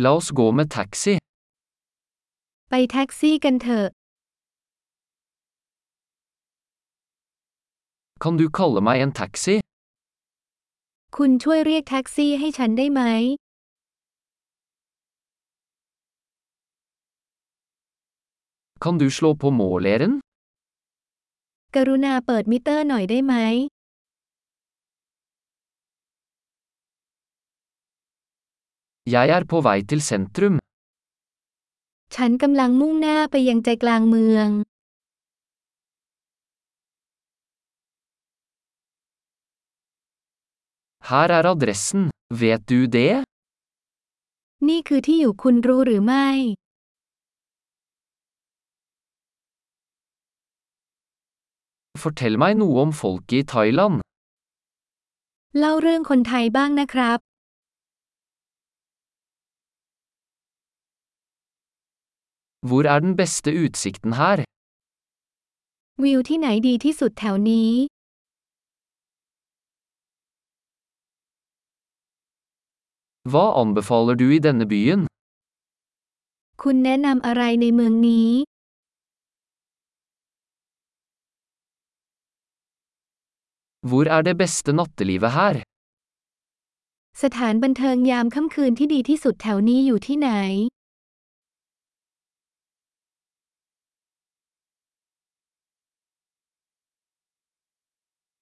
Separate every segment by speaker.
Speaker 1: La oss gå med taxi.
Speaker 2: ไปแท็กซี่กันเถอะ
Speaker 1: Kan du kalle meg en taxi?
Speaker 2: คุณช่วยเรียกแท็กซี่ให้ฉันได้ไหม
Speaker 1: Kan du slå på måleren?
Speaker 2: กรุณาเปิดมิเตอร์หน่อยได้ไหม
Speaker 1: Jeg er på vei til sentrum.
Speaker 2: ฉันกำลังมุ่งหน้าไปยังใจกลางเมือง
Speaker 1: Her er adressen. Vet du det?
Speaker 2: นี่คือที่อยู่คุณรู้หรือไม่
Speaker 1: Fortell meg noe om folket i Thailand.
Speaker 2: เล่าเรื่องคนไทยบ้างนะครับ
Speaker 1: Hvor er den beste utsikten her?
Speaker 2: วิวที่ไหนดีที่สุดแถวนี้
Speaker 1: Hva anbefaler du i denne byen?
Speaker 2: คุณแนะนำอะไรในเมืองนี้
Speaker 1: Hvor er det beste nattelivet her?
Speaker 2: สถานบันเทิงยามค่ำคืนที่ดีที่สุดแถวนี้อยู่ที่ไหน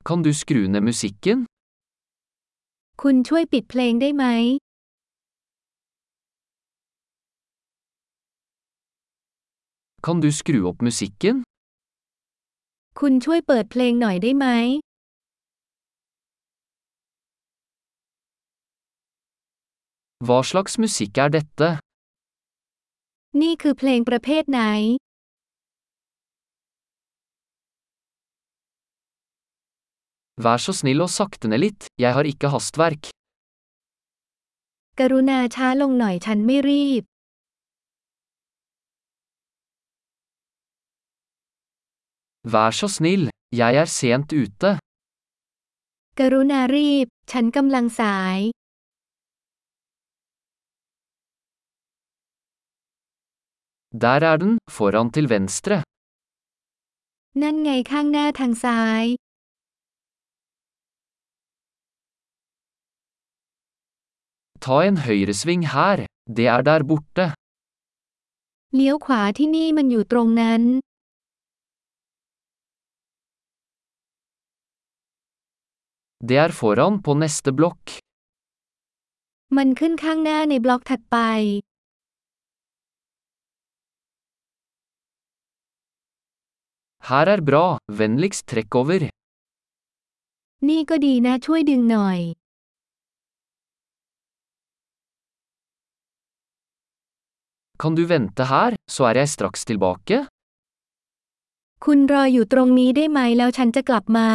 Speaker 1: Kan du skru ned musikken?
Speaker 2: คุณช่วยปิดเพลงได้ไหม
Speaker 1: Kan du skru opp musikken?
Speaker 2: คุณช่วยเปิดเพลงหน่อยได้ไหม
Speaker 1: Hva slags musikk er dette?
Speaker 2: นี่คือเพลงประเภทไหน
Speaker 1: Vær så snill og sakte ned litt, jeg har ikke hastverk.
Speaker 2: กรุณาช้าลงหน่อยฉันไม่รีบ
Speaker 1: Vær så snill, jeg er sent ute.
Speaker 2: กรุณารีบ ฉันกำลังสาย
Speaker 1: Der er den, foran til venstre.
Speaker 2: นั่นไงข้างหน้าทางซ้าย
Speaker 1: Ta en høyresving her, det er der borte.
Speaker 2: เลี้ยวขวาที่นี่มันอยู่ตรงนั้น
Speaker 1: Det er foran på neste blokk.
Speaker 2: มันขึ้นข้างหน้าในบล็อกถัดไป
Speaker 1: Her er bra, vennligst trekk over.
Speaker 2: นี่ก็ดีนะช่วยดึงหน่อย
Speaker 1: Kan du vente her, så er jeg straks tilbake?
Speaker 2: คุณรออยู่ตรงนี้ได้ไหมแล้วฉันจะกลับมา